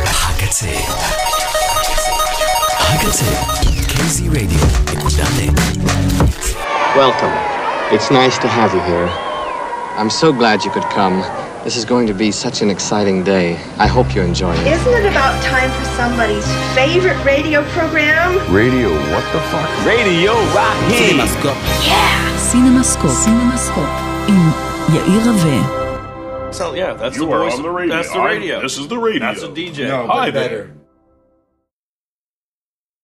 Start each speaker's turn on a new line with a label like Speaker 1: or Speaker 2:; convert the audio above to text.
Speaker 1: הקצה. הקצה, קייזי רדיו, נקודה נט.
Speaker 2: Welcome. It's nice to have you here. I'm so glad you could come. This is going to be such an exciting day. I hope you enjoy it.
Speaker 3: Isn't it about time for somebody's favorite radio program?
Speaker 4: Radio, what the fuck?
Speaker 5: סינמסקופ, סינמסקופ, עם יאיר רווה.
Speaker 6: So yeah, that's
Speaker 7: You
Speaker 6: the
Speaker 7: are
Speaker 6: voice.
Speaker 7: on the radio.
Speaker 6: That's the
Speaker 7: I'm-
Speaker 6: radio.
Speaker 7: this is the radio.
Speaker 6: That's a DJ.
Speaker 8: No,
Speaker 7: Hi
Speaker 8: but
Speaker 7: there.
Speaker 8: better.